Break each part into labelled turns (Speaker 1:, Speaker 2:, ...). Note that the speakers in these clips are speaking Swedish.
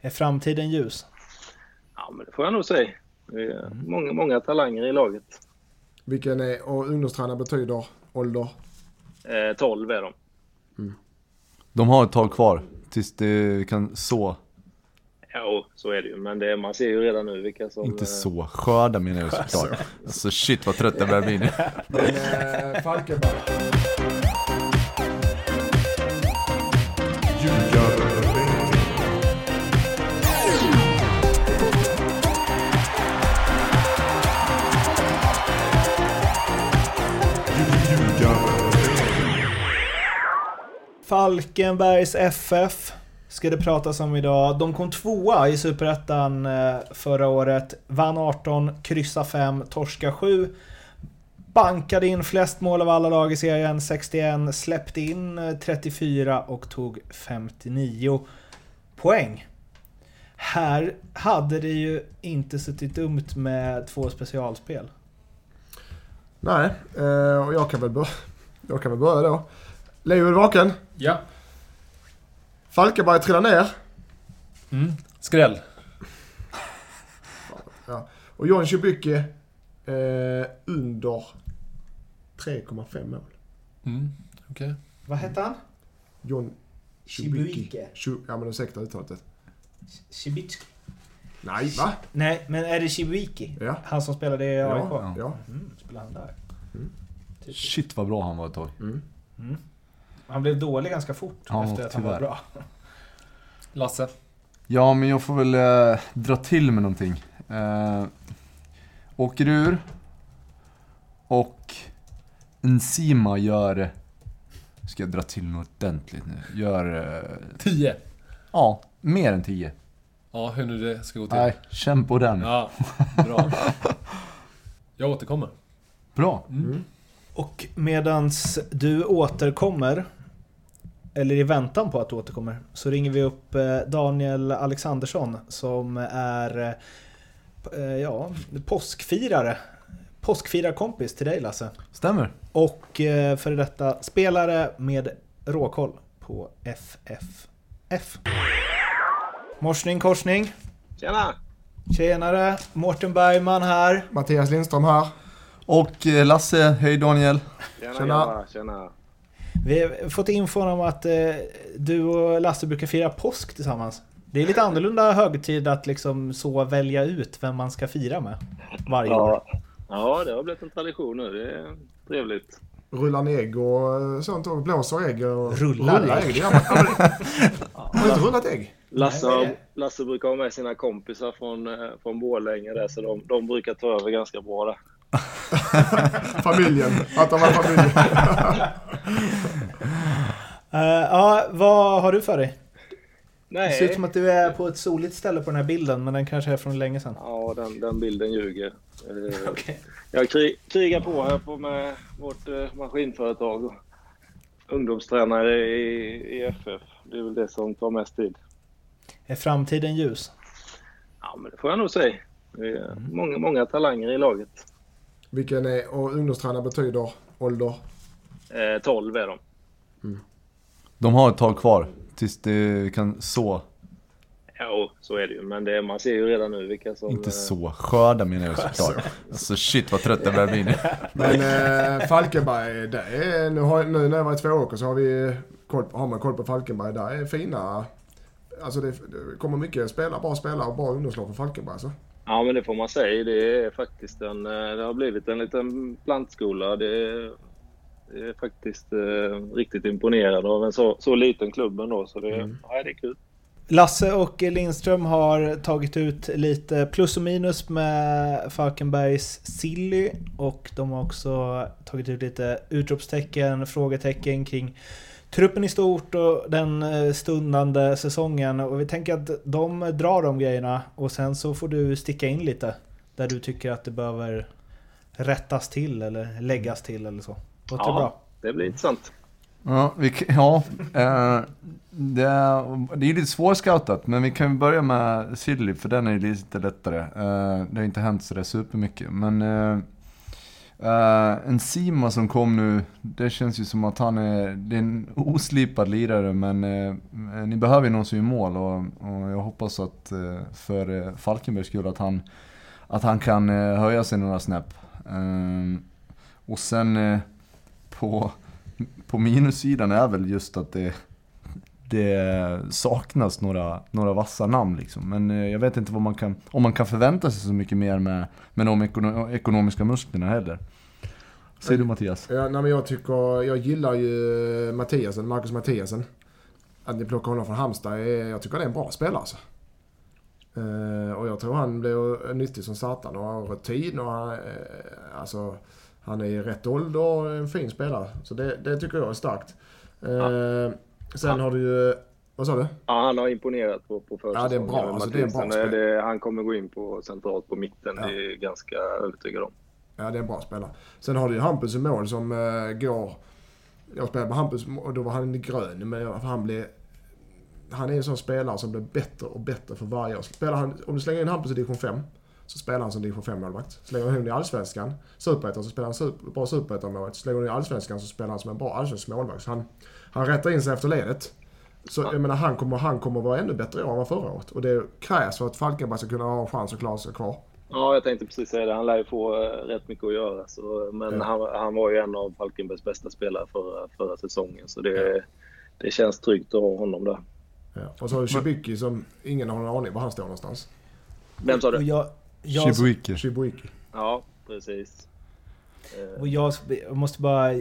Speaker 1: Är framtiden ljus?
Speaker 2: Ja, men det får jag nog säga. Det är
Speaker 1: Mm.
Speaker 2: många, många talanger i laget.
Speaker 3: Vilken är, och ungdomstränare betyder ålder?
Speaker 2: Eh, 12 är de.
Speaker 4: De har ett tag kvar tills det kan så.
Speaker 2: Ja, så är det ju. Men det, man ser ju redan nu vilka som...
Speaker 4: Inte
Speaker 2: eh,
Speaker 4: så. Skörda menar jag såklart. Alltså shit vad trött jag börjar bli nu.
Speaker 3: Men eh, Falkenberg.
Speaker 1: Falkenbergs FF ska det pratas om idag. De kom tvåa i Superettan eh, förra året. Vann 18, kryssa 5, torska 7. Bankade in flest mål av alla lag i serien, 61. Släppte in eh, 34 och tog 59 poäng. Här hade det ju inte suttit dumt med två specialspel.
Speaker 3: Nej, eh, och jag kan väl börja. Jag kan väl börja då. Leo är du vaken?
Speaker 5: Ja.
Speaker 3: Falkenberg trillar ner.
Speaker 5: Mm. Skräll.
Speaker 3: Och John Chibuki eh, under 3,5 mål.
Speaker 5: Mm. Okej.
Speaker 1: Vad hette han?
Speaker 3: John Chibuki.
Speaker 1: Chibuike.
Speaker 3: Chu- Ja men ursäkta uttalet.
Speaker 1: Cibicki?
Speaker 3: Nej va?
Speaker 1: Nej, men är det Cibicki?
Speaker 3: Ja.
Speaker 1: Han som spelade i AIK?
Speaker 3: Ja. ja.
Speaker 1: Mm, spelade han där? Typiskt.
Speaker 4: Shit vad bra han var ett tag.
Speaker 1: Han blev dålig ganska fort
Speaker 4: Ja,
Speaker 1: efter att han var
Speaker 4: tyvärr.
Speaker 1: bra.
Speaker 5: Lasse.
Speaker 4: Ja, men jag får väl eh, dra till med någonting. Eh, åker ur och Enzima gör... Ska jag dra till något ordentligt nu? Gör... Eh,
Speaker 5: 10.
Speaker 4: ja, mer än 10.
Speaker 5: Ja, hur nu det ska gå till.
Speaker 4: Nej, känn på den.
Speaker 5: Ja, bra. Jag återkommer.
Speaker 4: Bra.
Speaker 1: Och medans du återkommer, eller i väntan på att du återkommer, så ringer vi upp eh, Daniel Alexandersson som är eh, eh, ja, påskfirare. Påskfirarkompis till dig Lasse.
Speaker 4: Stämmer.
Speaker 1: Och eh, före detta spelare med råkoll på FFF. Morsning korsning.
Speaker 2: Tjena!
Speaker 1: Tjenare! Mårten Bergman här.
Speaker 3: Mattias Lindström här.
Speaker 4: Och eh, Lasse, hej Daniel.
Speaker 2: Tjena,
Speaker 3: Tjena.
Speaker 2: grabbar, tjena.
Speaker 1: Vi har fått infon om att eh, du och Lasse brukar fira påsk tillsammans. Det är lite annorlunda högtid att liksom så välja ut vem man ska fira med varje år.
Speaker 2: Ja. ja, det har blivit en tradition nu. Det är trevligt.
Speaker 3: Rullar ni ägg och eh, sånt och blåser ägg och...
Speaker 1: Rullar ägg.
Speaker 3: ägg. Ja, men, ja, men, har du inte rullat ägg?
Speaker 2: Lasse,
Speaker 1: Nej,
Speaker 2: har-
Speaker 1: det är-
Speaker 2: Lasse brukar ha med sina kompisar från, eh, från Borlänge där, så de, de brukar ta över ganska bra där.
Speaker 3: Familjen. Att de var familjen.
Speaker 1: Eh, ja, vad har du för dig? Det ser ut
Speaker 2: Nej,
Speaker 1: som att du är på ett soligt ställe på den här bilden, men den kanske är från länge sedan.
Speaker 2: ja, den, den bilden ljuger. Eh,
Speaker 1: Okej.
Speaker 2: Jag kri- krigar på här på med vårt eh, maskinföretag och ungdomstränare i, i FF. Det är väl det som tar mest tid.
Speaker 1: Är framtiden ljus?
Speaker 2: Ja, men det får jag nog säga. Det är många, många talanger i laget.
Speaker 3: Vilken är, och ungdomstränare betyder ålder?
Speaker 2: Eh, 12 är de.
Speaker 4: De har ett tag kvar tills det kan så.
Speaker 2: Ja, så är det ju. Men det, man ser ju redan nu vilka som...
Speaker 4: Inte
Speaker 2: eh,
Speaker 4: så. Skörda menar jag såklart. Alltså shit vad trött jag börjar bli nu.
Speaker 3: Men eh, Falkenberg, det är, nu, har, nu när jag var i Tvååker så har, vi koll, på- har man koll på Falkenberg. Där är fina... Alltså det, det kommer mycket spelare, bra spelare och bra ungdomslag från Falkenberg. Alltså.
Speaker 2: eh, Ja, men det får man säga. Det är faktiskt en... eh, Det har blivit en liten plantskola. Det är, det är faktiskt eh, riktigt imponerad av en så, så liten klubb ändå. Så det, ja, det är kul.
Speaker 1: Lasse och Lindström har tagit ut lite plus och minus med Falkenbergs Silly och de har också tagit ut lite utropstecken, frågetecken kring truppen i stort och den eh, stundande säsongen. Och vi tänker att de drar de grejerna och sen så får du sticka in lite där du tycker att det behöver rättas till eller läggas till eller så. Låter
Speaker 2: Ja.
Speaker 1: det bra?
Speaker 2: Det blir intressant.
Speaker 4: Ja, vi, k- ja eh, det, är- det är ju lite svårscoutat, men vi kan ju börja med Silly, för den är ju lite lättare. Eh, det har ju inte hänt sådär supermycket, men... Eh, Eh, en Sima som kom nu, det känns ju som att han är, det är en oslipad lirare men eh, ni behöver ju någon som gör mål och, och jag hoppas att eh, för eh, Falkenbergs skull att han, att han kan eh, höja sig några snäpp. Eh, och sen eh, på, på minussidan är väl just att det, det saknas några, några vassa namn liksom. Men eh, jag vet inte vad man kan, om man kan förvänta sig så mycket mer med, med de ekono, ekonomiska musklerna heller. Säger du Mattias?
Speaker 3: Ja, nej, men jag, tycker, jag gillar ju Mattiasen, Marcus Mattiasen. Att ni plockar honom från Halmstad, är, jag tycker det är en bra spelare alltså. Eh, och jag tror han blir nyttig som satan och har rutin och han, eh, alltså, han är i rätt ålder och är en fin spelare. Så det, det tycker jag är starkt. Eh, Sen har du ju, vad sa du?
Speaker 2: Ja, han har imponerat på, på försäsongen.
Speaker 3: Ja, det är bra. Alltså, det är en bra
Speaker 2: Matthisen, eh,
Speaker 3: spelare.
Speaker 2: det- Han kommer gå in på centralt på mitten, det är jag ganska övertygad om.
Speaker 3: Ja, det är en bra spelare. Sen har du ju Hampus i mål som eh, går... Jag spelade med Hampus och då var han grön, men jag- han blev... Han är en sån spelare som blir bättre och bättre för varje år. Spelar han, om du slänger in Hampus i division 5, så spelar han som division 5-målvakt. Slänger du in honom i Allsvenskan, Superettan, så spelar han super, bra Superettan-målvakt. Slänger du in i Allsvenskan så spelar han som en bra allsvensk målvakt. Så han, han rättar in sig efter ledet. Så jag menar, han kommer, han kommer vara ännu bättre i år än vad förra året. Och det krävs för att Falkenberg ska kunna ha en chans att klara sig kvar.
Speaker 2: Ja, jag tänkte precis säga det. Han lär ju få eh, rätt mycket att göra. Så, men han, han var ju en av Falkenbergs bästa spelare förra, förra säsongen, så det, det känns tryggt att ha honom där.
Speaker 3: Ja. Och så har du Chibuki som ingen har någon aning var han står någonstans.
Speaker 2: Vem sa
Speaker 1: Och
Speaker 2: du?
Speaker 1: jag, jag,
Speaker 4: Chibuike.
Speaker 3: Chibuki.
Speaker 2: Ja, precis. Eh,
Speaker 1: och jag jag måste bara,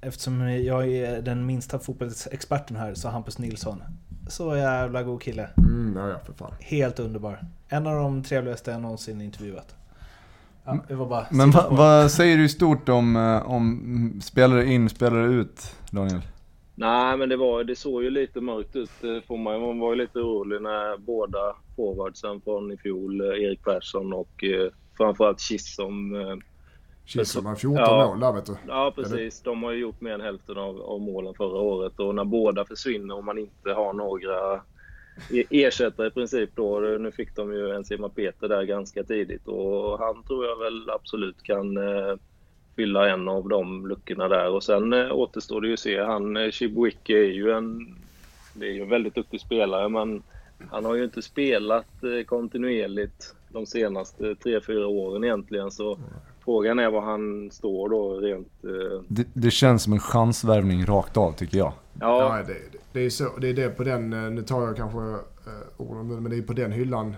Speaker 1: eftersom jag är den minsta fotbollsexperten här, så Hampus Nilsson. Så jävla god kille.
Speaker 3: Mm, ja, ja för fan.
Speaker 1: Helt underbar. En av de trevligaste jag någonsin intervjuat. Ja, det var bara
Speaker 4: Men va,
Speaker 1: sitta på.
Speaker 4: vad säger du i stort om, eh, om spelare in, spelare ut, Daniel?
Speaker 2: Nej, men det, var, det såg ju lite mörkt ut. eh, Får man, man var ju lite orolig när båda forwardsen från i fjol, eh, Erik Persson och eh, framförallt Kiss som... eh,
Speaker 3: Kisselman har 14
Speaker 2: Ja.
Speaker 3: mål där vet du.
Speaker 2: Ja, precis. De har ju gjort mer än hälften av, av målen förra året och när båda försvinner och man inte har några e- ersättare i princip då. Nu fick de ju Enzima Peter där ganska tidigt och han tror jag väl absolut kan eh, fylla en av de luckorna där och sen eh, återstår det ju att se. Han eh, Chibuike är ju en, det är ju en väldigt duktig spelare men han har ju inte spelat eh, kontinuerligt de senaste tre fyra åren egentligen så Frågan är var han står då rent... eh,
Speaker 4: Det, det känns som en chansvärvning rakt av tycker jag.
Speaker 2: Ja,
Speaker 3: Nej, det, det, är så, det är det på den, eh, nu tar jag kanske eh, orden nu, men det är på den hyllan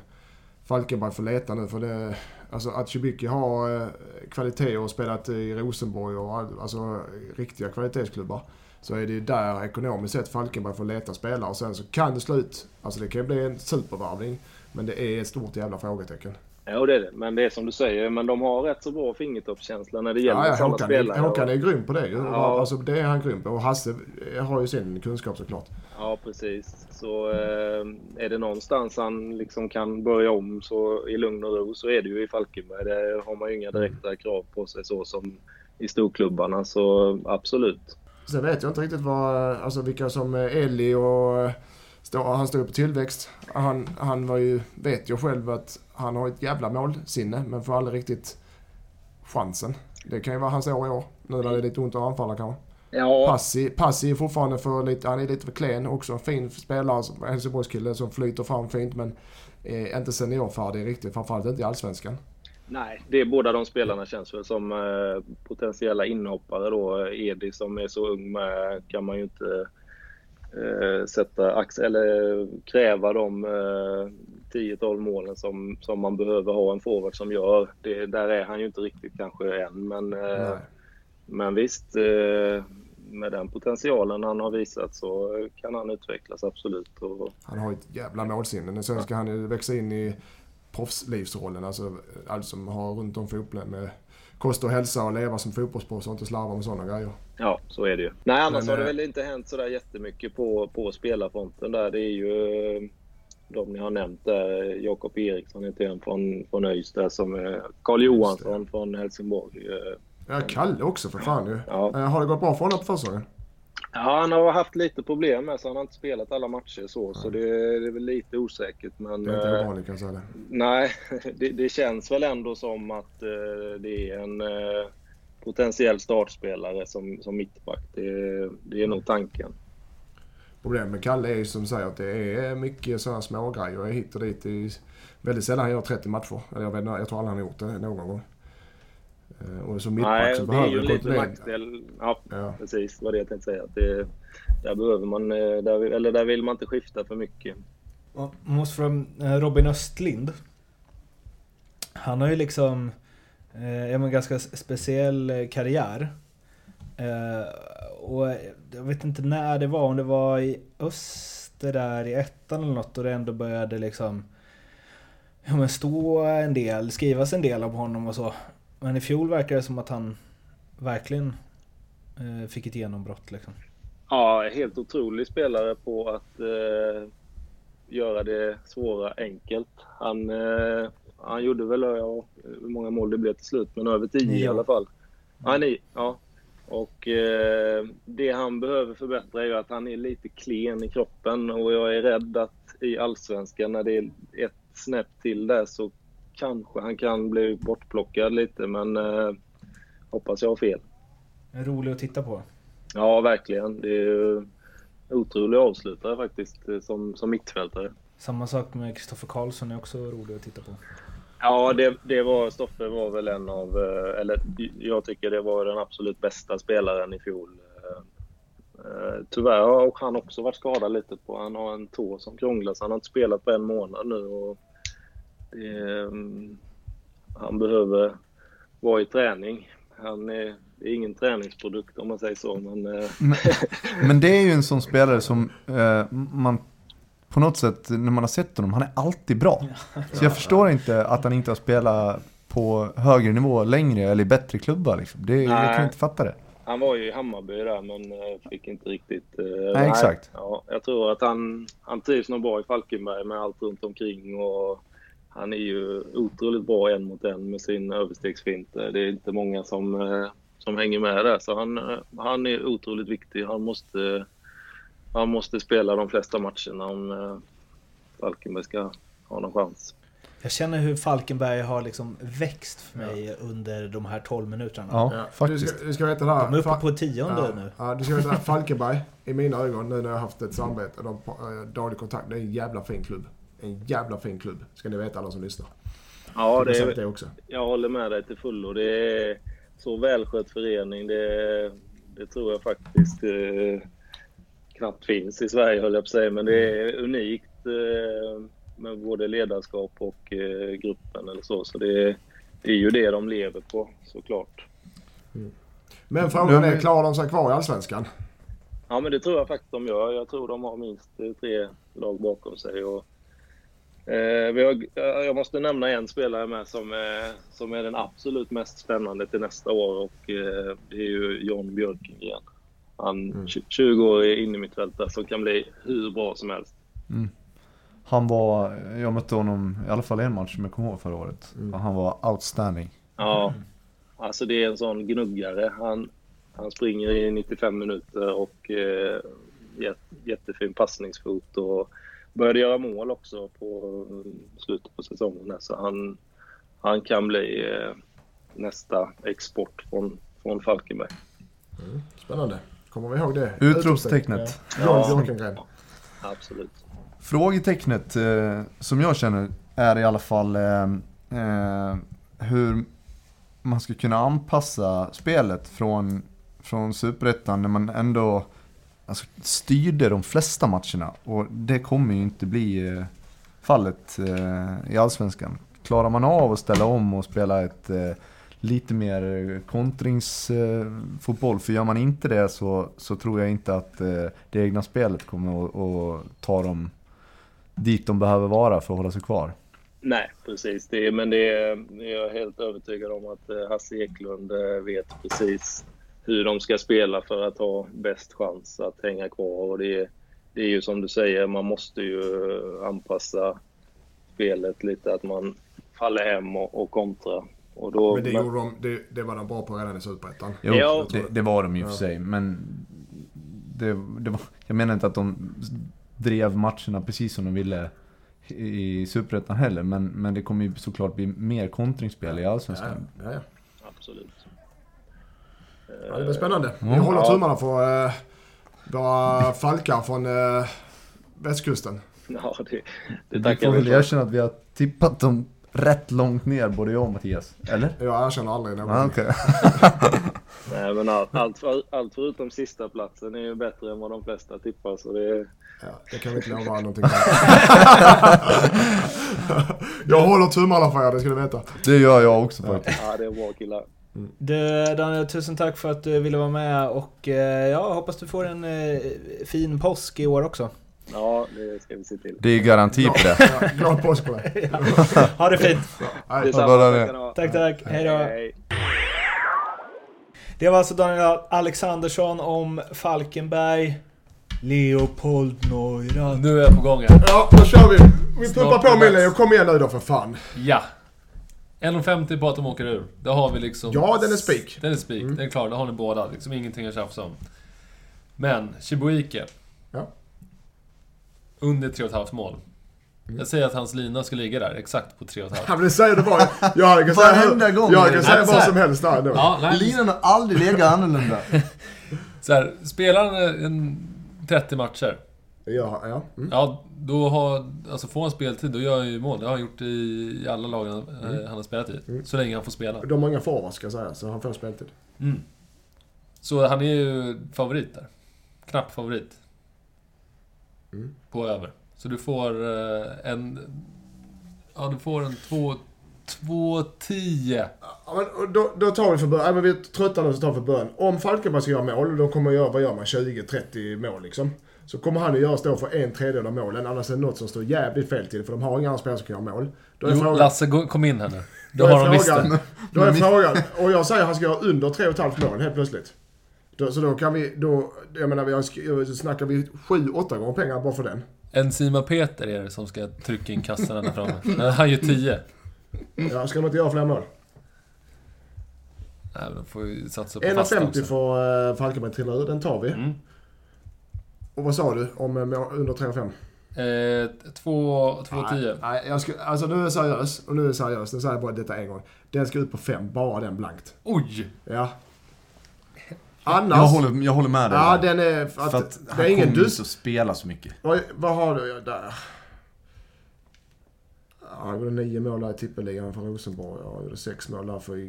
Speaker 3: Falkenberg får leta nu. För det, alltså att Chibuki har eh, kvaliteter och spelat i Rosenborg och all- alltså riktiga kvalitetsklubbar. Så är det ju där ekonomiskt sett Falkenberg får leta spelare och sen så kan det slut. Alltså det kan ju bli en supervarvning. Men det är ett stort jävla frågetecken.
Speaker 2: ja det är det. Men det är som du säger, men de har rätt så bra fingertoppskänsla när det gäller
Speaker 3: Ja, ja,
Speaker 2: sådana
Speaker 3: Håkan, är,
Speaker 2: spelare.
Speaker 3: Håkan är grym på det ju.
Speaker 2: Ja.
Speaker 3: Alltså, det är han grym på. Och Hasse eh, har ju sin kunskap såklart.
Speaker 2: Ja, precis. Så eh, är det någonstans han liksom kan börja om så i lugn och ro så är det ju i Falkenberg. Där har man ju inga direkta krav på sig så som i storklubbarna, så absolut.
Speaker 3: Sen vet jag inte riktigt vad, alltså vilka som eh, Ellie och eh, stå, han stod på tillväxt. Han, han var ju, vet jag själv att han har ett jävla målsinne men får aldrig riktigt chansen. Det kan ju vara hans år i år. Nu när det är lite ont att anfalla kanske.
Speaker 2: Ja,
Speaker 3: Passi, Passi är fortfarande för lite, han är lite för klen. Också en fin spelare, som- Helsingborgskille som flyter fram fint men eh, inte seniorfärdig riktigt. Framförallt inte i Allsvenskan.
Speaker 2: nej, det är båda de spelarna känns väl som eh, potentiella inhoppare då. Edi som är så ung med kan man ju inte eh, sätta ax eller kräva de eh, 10-12 målen som, som man behöver ha en forward som gör. Det, där är han ju inte riktigt kanske än, men, eh,
Speaker 3: Nej.
Speaker 2: men visst. Eh, med den potentialen han har visat så kan han utvecklas absolut. Och,
Speaker 3: Han har ett jävla målsinne. Men Sen ska han ju växa in i proffslivsrollen. Alltså allt som har runt om fotbollen med kost och hälsa och leva som fotbollsproffs och inte slarva med sådana grejer.
Speaker 2: Ja, så är det ju. Nej, annars
Speaker 3: Men,
Speaker 2: har det
Speaker 3: eh,
Speaker 2: väl inte hänt sådär jättemycket på, på spelarfronten där. Det är ju eh, de ni har nämnt där. Jakob Eriksson heter en från, från Ystad som är Carl Johansson från Helsingborg. Eh,
Speaker 3: Ja, Kalle också för fan ju.
Speaker 2: Ja.
Speaker 3: Eh, Har det gått bra för honom på försäsongen?
Speaker 2: Ja, han har haft lite problem med så han har inte spelat alla matcher så, så det, det är väl lite osäkert. Men,
Speaker 3: Det är
Speaker 2: eh,
Speaker 3: inte ovanligt kan jag säga det.
Speaker 2: Nej, det, det känns väl ändå som att eh, det är en eh, potentiell startspelare som, som mittback. Det, det är nog tanken.
Speaker 3: Problemet med Kalle är ju som säger att det är mycket sådana smågrejer hit och dit. I, väldigt sällan han gör 30 matcher. Eller jag, vet, inte, jag tror aldrig han har gjort det någon gång. Eh, Och som mittback
Speaker 2: Nej,
Speaker 3: så
Speaker 2: det är
Speaker 3: behöver
Speaker 2: ju
Speaker 3: du
Speaker 2: en liten
Speaker 3: kontrollera.
Speaker 2: nackdel. Ja,
Speaker 3: Ja.
Speaker 2: precis. Vad det jag tänkte säga. Att Det, där behöver man, eh, där, vill- eller där vill man inte skifta för mycket.
Speaker 1: Och Man måste fråga eh, Robin Östlind. Han har ju liksom eh, ja, men ganska s- speciell eh, karriär. Eh, och jag vet inte när det var, om det var i Öster där i ettan eller något och det ändå började liksom ja, men stå en del, skrivas en del om honom och så. Men i fjol verkar det som att han verkligen eh, fick ett genombrott liksom.
Speaker 2: Ja, helt otrolig spelare på att eh, göra det svåra enkelt. Han, eh, han gjorde väl, ja, hur många mål det blev till slut, men över 10 i
Speaker 1: Nio.
Speaker 2: alla fall. Ja, nio, ja. Och eh, det han behöver förbättra är ju att han är lite klen i kroppen och jag är rädd att i Allsvenskan, när det är ett snäpp till där, så kanske han kan bli bortplockad lite, men eh, hoppas jag har fel.
Speaker 1: Rolig att titta på.
Speaker 2: Ja, verkligen. Det är ju otrolig avslutare faktiskt eh, som, som mittfältare.
Speaker 1: Samma sak med Kristoffer Karlsson är också rolig att titta på.
Speaker 2: Ja, det, det var, Stoffe var väl en av, eh, eller jag tycker det var den absolut bästa spelaren i fjol. Eh, eh, Tyvärr har och han också varit skadad lite på, han har en tå som krånglar så han har inte spelat på en månad nu. Och det, eh, han behöver vara i träning. Han är, det är ingen träningsprodukt om man säger så, men eh,
Speaker 4: Men, men det är ju en sån spelare som eh, man på något sätt, när man har sett honom, han är alltid bra. Så jag förstår inte att han inte har spelat på högre nivå längre eller i bättre klubbar. Liksom. Det, jag kan
Speaker 2: Nej.
Speaker 4: inte fatta det.
Speaker 2: Han var ju i Hammarby där men eh, fick inte riktigt... eh,
Speaker 4: exakt.
Speaker 2: Ja, jag tror att han, han trivs nog bra i Falkenberg med allt runt omkring och han är ju otroligt bra en mot en med sin överstegsfint. Eh, Det är inte många som, eh, som hänger med där så han, eh, han är otroligt viktig. Han måste, han måste spela de flesta matcherna om eh, Falkenberg ska ha någon chans.
Speaker 1: Jag känner hur Falkenberg har liksom växt för mig under de här 12 minuterna.
Speaker 4: Ja,
Speaker 3: Du
Speaker 4: faktiskt.
Speaker 3: ska, du ska veta det här.
Speaker 1: De är uppe
Speaker 3: Fa-
Speaker 1: på tionde
Speaker 3: ja,
Speaker 1: nu.
Speaker 3: Ja, du ska veta det här. Falkenberg, i mina ögon, nu när jag har haft ett samarbete och de, eh, daglig kontakt. Det är en jävla fin klubb. En jävla fin klubb. Ska ni veta alla som lyssnar.
Speaker 2: Ja,
Speaker 3: jag har
Speaker 2: det
Speaker 3: sagt
Speaker 2: är,
Speaker 3: det också.
Speaker 2: Jag håller med dig till fullo. Det är så välskött förening. Det, det tror jag faktiskt eh, knappt finns i Sverige, höll jag på att säga. Men det är unikt eh, med både ledarskap och eh, gruppen eller så. Så det, det är ju det de lever på, såklart.
Speaker 3: Men
Speaker 4: De
Speaker 3: frågan
Speaker 4: är-
Speaker 3: är, klarar de sig kvar i Allsvenskan?
Speaker 2: Ja, men det tror jag faktiskt de gör. Jag tror de har minst eh, tre lag bakom sig. Och, eh, vi har, eh, jag måste nämna en spelare med som, eh, som är den absolut mest spännande till nästa år och eh, det är ju John Björkengren. Han
Speaker 3: Mm.
Speaker 2: 20 år in i mitt fält där, som kan bli hur bra som helst.
Speaker 4: Han var, jag mötte honom i alla fall en match som jag kommer ihåg förra året.
Speaker 3: Mm.
Speaker 4: Och Han var outstanding.
Speaker 2: Ja, alltså det är en sån gnuggare. Han, han springer i 95 minuter och eh, jät, jättefin passningsfot och började göra mål också på mm, slutet på säsongen. där. Så han, han kan bli eh, nästa export från, från Falkenberg.
Speaker 3: Spännande. Kommer vi ihåg det?
Speaker 4: Utropstecknet.
Speaker 3: Ja.
Speaker 2: Ja.
Speaker 3: John Björkengren.
Speaker 2: Absolut.
Speaker 4: Frågetecknet eh, som jag känner är i alla fall eh, eh, hur man ska kunna anpassa spelet från, från Superettan när man ändå alltså, styrde de flesta matcherna. Och det kommer ju inte bli eh, fallet eh, i Allsvenskan. Klarar man av att ställa om och spela ett eh, lite mer kontringsfotboll. För gör man inte det så, så tror jag inte att eh, det egna spelet kommer att, att ta dem dit de behöver vara för att hålla sig kvar.
Speaker 2: Nej, precis. Det, men det är, jag är helt övertygad om att eh, Hasse Eklund eh, vet precis hur de ska spela för att ha bäst chans att hänga kvar. Och det, är- det är ju som du säger, man måste ju eh, anpassa spelet lite, att man faller hem och, och kontrar. Och då,
Speaker 3: Men det, gjorde de, det, det var de bra på redan i Superettan.
Speaker 4: Jo,
Speaker 2: Ja.
Speaker 4: det, det var de ju för
Speaker 3: Ja.
Speaker 4: sig, men det, det var, jag menar inte att de drev matcherna precis som de ville i Superettan heller, men, men det kommer ju såklart bli mer kontringsspel i
Speaker 3: Ja,
Speaker 4: Allsvenskan.
Speaker 3: ja, ja.
Speaker 2: absolut.
Speaker 3: Ja, det blir spännande. Vi
Speaker 4: Mm.
Speaker 3: håller
Speaker 2: Ja.
Speaker 3: tummarna för eh, våra falkar från eh, västkusten.
Speaker 2: Ja, det, det
Speaker 4: Vi
Speaker 2: tackar
Speaker 4: får
Speaker 2: vi
Speaker 4: väl
Speaker 2: för.
Speaker 4: erkänna att vi har tippat dem rätt långt ner, både jag och Mattias. Eller?
Speaker 3: Jag erkänner aldrig någonting.
Speaker 4: Ja, okej.
Speaker 2: Nej, men allt, allt, för, allt förutom sista platsen är ju bättre än vad de flesta tippar. Så det,
Speaker 3: Ja, det kan vi inte lova någonting. jag håller tummarna för er, det ska du veta.
Speaker 4: Det gör jag också faktiskt.
Speaker 2: ja, det är bra killar.
Speaker 1: Du Daniel, tusen tack för att du ville vara med och eh, ja, hoppas du får en eh, fin påsk i år också.
Speaker 2: Ja, det ska vi se till.
Speaker 4: Det är garanti på det.
Speaker 3: Ja, glad påsk på dig.
Speaker 1: Ha det fint!
Speaker 3: Nej.
Speaker 2: Detsamma,
Speaker 4: bra,
Speaker 2: tack
Speaker 4: det.
Speaker 2: ska ni ha.
Speaker 1: Tack, tack! Hej då!
Speaker 2: Hej.
Speaker 1: Det var alltså Daniel Alexandersson om Falkenberg. Leopold Neurand.
Speaker 5: Nu är jag på gång här.
Speaker 3: Ja, då kör vi. Vi pumpar
Speaker 5: Snart
Speaker 3: på
Speaker 5: är det
Speaker 3: Millie
Speaker 5: dags.
Speaker 3: och kom igen nu då för fan.
Speaker 5: Ja. 1,50 på att de åker ur. Det har vi liksom...
Speaker 3: Ja, den är spik. Mm.
Speaker 5: Den är spik, den är klar. Det har ni båda. Liksom ingenting att tjafsa om. Men, Chibuike.
Speaker 3: Ja.
Speaker 5: Under 3,5 mål.
Speaker 3: Mm.
Speaker 5: Jag säger att hans lina ska ligga där, exakt på 3,5.
Speaker 3: Ja, men det säger du bara. Jag kan säga,
Speaker 4: Varenda gång är
Speaker 3: jag
Speaker 4: det
Speaker 3: kan
Speaker 4: så.
Speaker 3: säga
Speaker 5: Nej, men
Speaker 3: vad
Speaker 5: så här.
Speaker 3: som helst där. Då.
Speaker 5: Ja, nej,
Speaker 4: Linan har aldrig legat annorlunda.
Speaker 5: så här, spelar han eh, en 30 matcher,
Speaker 3: Ja, ja. Mm.
Speaker 5: ja, då har, alltså får han speltid, då gör han ju mål. Det har han gjort i alla lag han, eh,
Speaker 3: Mm.
Speaker 5: han har spelat i. Så länge han får spela.
Speaker 3: De har inga forwards ska jag säga, så han får speltid.
Speaker 5: Så han är ju favorit där. Knapp favorit.
Speaker 3: Mm.
Speaker 5: På över. Så du får eh, en... Ja, du får en 2-10.
Speaker 3: Ja, men och då, då tar vi för början. Ja, men vi är trötta nu så tar vi för början. Om Falkenberg ska göra mål, då kommer göra, vad gör man, 20-30 mål liksom. Så kommer han att göra stå för en tredjedel av målen, annars är det något som står jävligt fel till, för de har inga andra spelare som kan göra mål. Då är
Speaker 5: Jo,
Speaker 3: frågan-
Speaker 5: Lasse, gå- kom in här nu. Då
Speaker 3: är
Speaker 5: har de visst
Speaker 3: frågan-
Speaker 5: det.
Speaker 3: Då är frågan, och jag säger att han ska göra under 3,5 mål helt plötsligt. Då, så då kan vi, då, jag menar, vi har, sk- så snackar vi 7-8 gånger pengar bara för den.
Speaker 5: Enzima Peter är det som ska trycka in kassarna där framme. Men Han gör 10. Mm.
Speaker 3: Ja, ska de inte göra fler mål?
Speaker 5: Nej, men de får ju satsa på fasta
Speaker 3: 1,50
Speaker 5: också.
Speaker 3: får uh, Falkenberg trilla ur, den tar vi.
Speaker 5: Mm.
Speaker 3: Och vad sa du om eh, mål under 3,5?
Speaker 5: Eh, 2-10.
Speaker 3: Nej, nej, jag ska, alltså nu är jag seriös. Och nu är jag seriös. Nu säger jag bara detta en gång. Den ska ut på fem, bara den blankt.
Speaker 5: Oj!
Speaker 3: Ja. Annars...
Speaker 4: Jag håller, jag håller med dig.
Speaker 3: Ja, den är... Att,
Speaker 4: För att han
Speaker 3: det är ingen
Speaker 4: kommer
Speaker 3: dus...
Speaker 4: inte att spela så mycket.
Speaker 3: Vad, vad har du där? Ja, Han gjorde nio mål där i tippeligan för Rosenborg. Ja, Han gjorde sex mål där för i,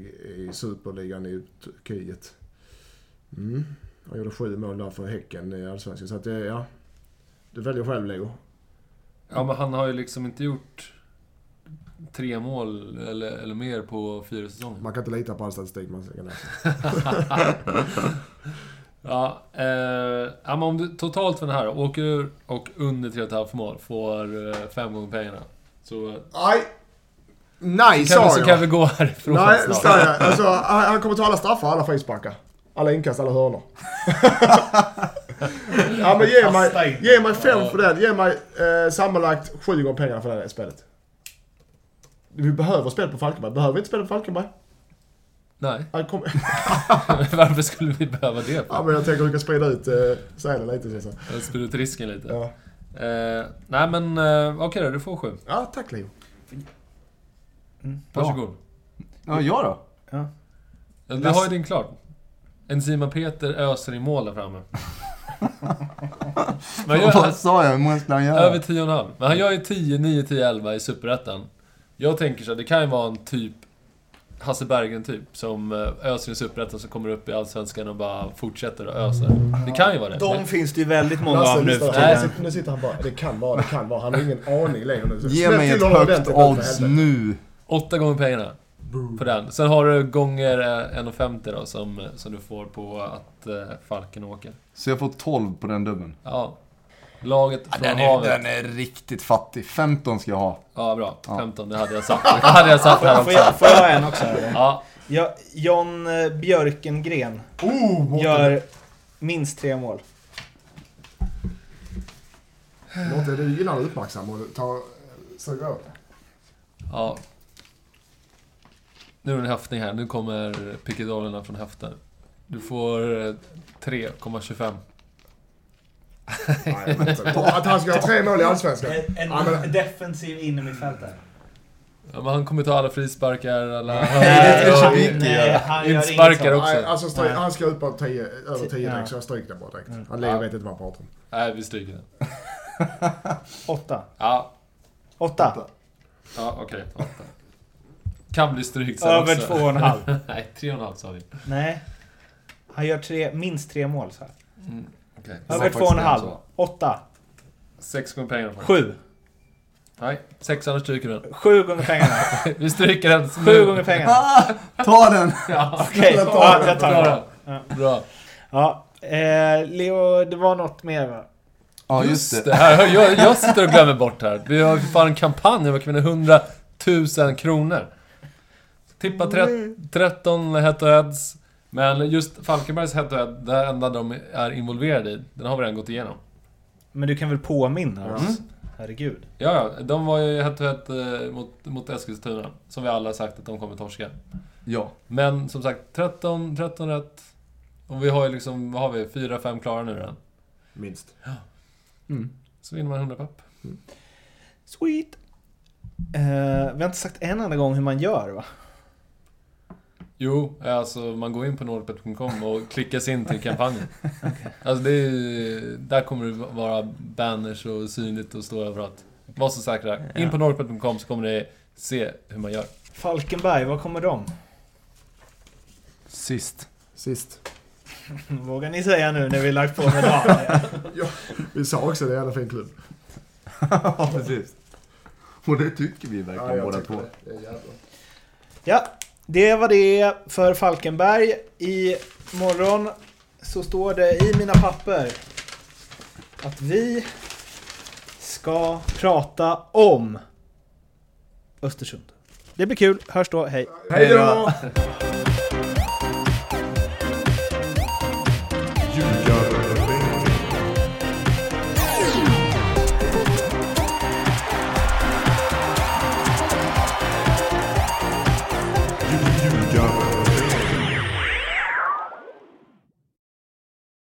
Speaker 3: i superligan i Turkiet. Mm. Han gjorde sju mål där för Häcken i Allsvenskan. Så att det, ja. Du väljer själv Leo. Mm.
Speaker 5: Ja, men han har ju liksom inte gjort tre mål eller, eller mer på fyra säsonger.
Speaker 3: Man kan inte lita på all statistik man kan läsa.
Speaker 5: Ja, eh, ja, men om du totalt för den här då, åker ur och under 3,5 mål får eh, fem gånger pengarna. Så,
Speaker 3: Nej! Nej,
Speaker 5: kan, vi,
Speaker 3: sa
Speaker 5: så
Speaker 3: jag!
Speaker 5: kan vi gå härifrån
Speaker 3: Nej,
Speaker 5: snart.
Speaker 3: sa jag. Alltså, han han kommer ta alla straffar, alla frisparkar. Alla inkast, alla hörnor. ja, men ge mig, ge mig fem för den. Ge mig eh, sammanlagt sju gånger pengarna för det här spelet. Vi behöver spel på Falkenberg. Behöver vi inte spel på Falkenberg?
Speaker 5: Nej,
Speaker 3: Han kommer-
Speaker 5: varför skulle vi behöva det?
Speaker 3: ja,
Speaker 5: för?
Speaker 3: men jag tänker att vi kan sprida ut eh, sälen lite. Så. att säga.
Speaker 5: Jag spyr ut risken lite.
Speaker 3: Ja.
Speaker 5: Eh, nej men eh, okej då, du får sju.
Speaker 3: ja, tack Leo.
Speaker 5: Varsågod.
Speaker 4: Ja, jag då?
Speaker 5: Ja. Du har ju din klar. Enzima Peter öser i mål där framme. Men jag,
Speaker 4: Vad sa jag? Hur många skulle han göra?
Speaker 5: Över 10,5. Men han gör ju 10, 9, 10, 11 i Superettan. Jag tänker så här, det kan ju vara en typ Hasse Bergen typ, som eh, öser i Superettan som kommer upp i Allsvenskan och bara fortsätter att ösa. Det kan ju vara det.
Speaker 1: De
Speaker 5: Men-
Speaker 1: finns det ju väldigt många
Speaker 3: Lasse,
Speaker 1: av nu
Speaker 3: lyssna.
Speaker 1: för
Speaker 3: Nej,
Speaker 1: tiden.
Speaker 3: sitt- nu sitter han bara. Det kan vara, det kan vara. Han har ingen aning längre nu. Så
Speaker 4: Ge
Speaker 3: smäll
Speaker 4: mig
Speaker 3: till
Speaker 4: ett
Speaker 3: honom ordentligt
Speaker 4: högt
Speaker 3: nu, för
Speaker 4: odds
Speaker 3: helvete.
Speaker 4: nu.
Speaker 5: Åtta gånger pengarna på den. Sen har du gånger eh, 1,50 då som, eh, som du får på att eh, Falken åker.
Speaker 4: Så jag får 12 på den dubben.
Speaker 5: Ja. Laget från
Speaker 4: Den är,
Speaker 5: havet.
Speaker 4: den är riktigt fattig. 15 ska jag ha.
Speaker 5: Ja, bra. 15, det hade jag satt. Det hade jag satt här
Speaker 1: Får
Speaker 5: också.
Speaker 1: jag, får jag en också? eller?
Speaker 5: Ja,
Speaker 1: Ja, John eh, Björkengren
Speaker 3: Oh, Mårten.
Speaker 1: gör minst tre mål.
Speaker 3: Mårten, du gillar att uppmärksam och ta, suga åt dig.
Speaker 5: Ja. Nu är det en höftning här. Nu kommer pickadollerna från höften. Du får eh, 3,25.
Speaker 3: Nej, jag vet inte. Att han ska ha tre mål i Allsvenskan. Ja, men,
Speaker 1: defensiv innermittfältare.
Speaker 5: Ja, men han kommer ta alla frisparkar, alla
Speaker 4: Nej, det är
Speaker 5: Ja,
Speaker 4: Cibicki, ja.
Speaker 1: han gör inget
Speaker 5: Insparkar
Speaker 1: sånt.
Speaker 5: också.
Speaker 3: Nej, alltså stryk,
Speaker 1: Nej.
Speaker 3: han ska ut på tio, över 10
Speaker 1: Ja.
Speaker 3: direkt, så jag stryker det bara direkt. Han lever
Speaker 5: Ja.
Speaker 3: vet inte vad han pratar om.
Speaker 5: Nej, vi stryker den.
Speaker 1: Åtta.
Speaker 5: Ja,
Speaker 1: Åtta.
Speaker 5: ja okej. Åtta. Kan bli strykt sen
Speaker 1: Över
Speaker 5: också.
Speaker 1: två och en halv.
Speaker 5: Nej, tre och en halv sa vi.
Speaker 1: Nej. Han gör tre, minst tre mål så här.
Speaker 5: Mm, okej.
Speaker 1: Över två och en halv. Åtta.
Speaker 5: Sex gånger pengarna. faktiskt.
Speaker 1: Sju.
Speaker 5: Nej, sex annars stryker vi den.
Speaker 1: Sju gånger pengarna.
Speaker 5: Vi stryker den
Speaker 1: Sju gånger pengarna.
Speaker 4: Ah, Ta den!
Speaker 5: Ja,
Speaker 1: Okej, ja, jag tar det.
Speaker 5: bra. Bra.
Speaker 1: Ja, eh, Leo, det var något mer va?
Speaker 4: Ja,
Speaker 5: Just det. Här, jag, jag sitter och glömmer bort här. Vi har ju fan en kampanj om att vinna 100 000 kronor. Tippa tre, 13 head to heads. Men just Falkenbergs head to head, det enda de är involverade i, den har vi redan gått igenom.
Speaker 1: Men du kan väl påminna oss? Herregud.
Speaker 5: Ja, ja, de var ju head to head eh, mot, mot Eskilstuna, som vi alla har sagt att de kommer torska.
Speaker 4: Ja.
Speaker 5: Men som sagt, 13, 13 rätt. Och vi har ju liksom, vad har vi? 4-5 klara nu redan.
Speaker 3: Minst.
Speaker 5: Så vinner man 100 papp.
Speaker 1: Sweet. Eh, vi har inte sagt en enda gång hur man gör va?
Speaker 5: Jo, alltså man går in på nordpet.com och klickar sig in till kampanjen. Alltså det är, där kommer det vara banners och synligt och stå överallt. Var så säkra. In på nordpet.com så kommer ni se hur man gör.
Speaker 1: Falkenberg, vad kommer de?
Speaker 4: Sist.
Speaker 3: Sist.
Speaker 1: Vågar ni säga nu när vi lagt på med dagen?
Speaker 3: Vi sa också det, är en jävla fin klubb.
Speaker 4: ja, precis. Och det tycker vi verkligen
Speaker 3: jag
Speaker 4: båda
Speaker 3: tycker
Speaker 4: två.
Speaker 3: det. Det är jävla-
Speaker 1: Ja, det var det för Falkenberg. I morgon så står det i mina papper att vi ska prata om Östersund. Det blir kul. Hörs då. Hej!
Speaker 4: Hej då!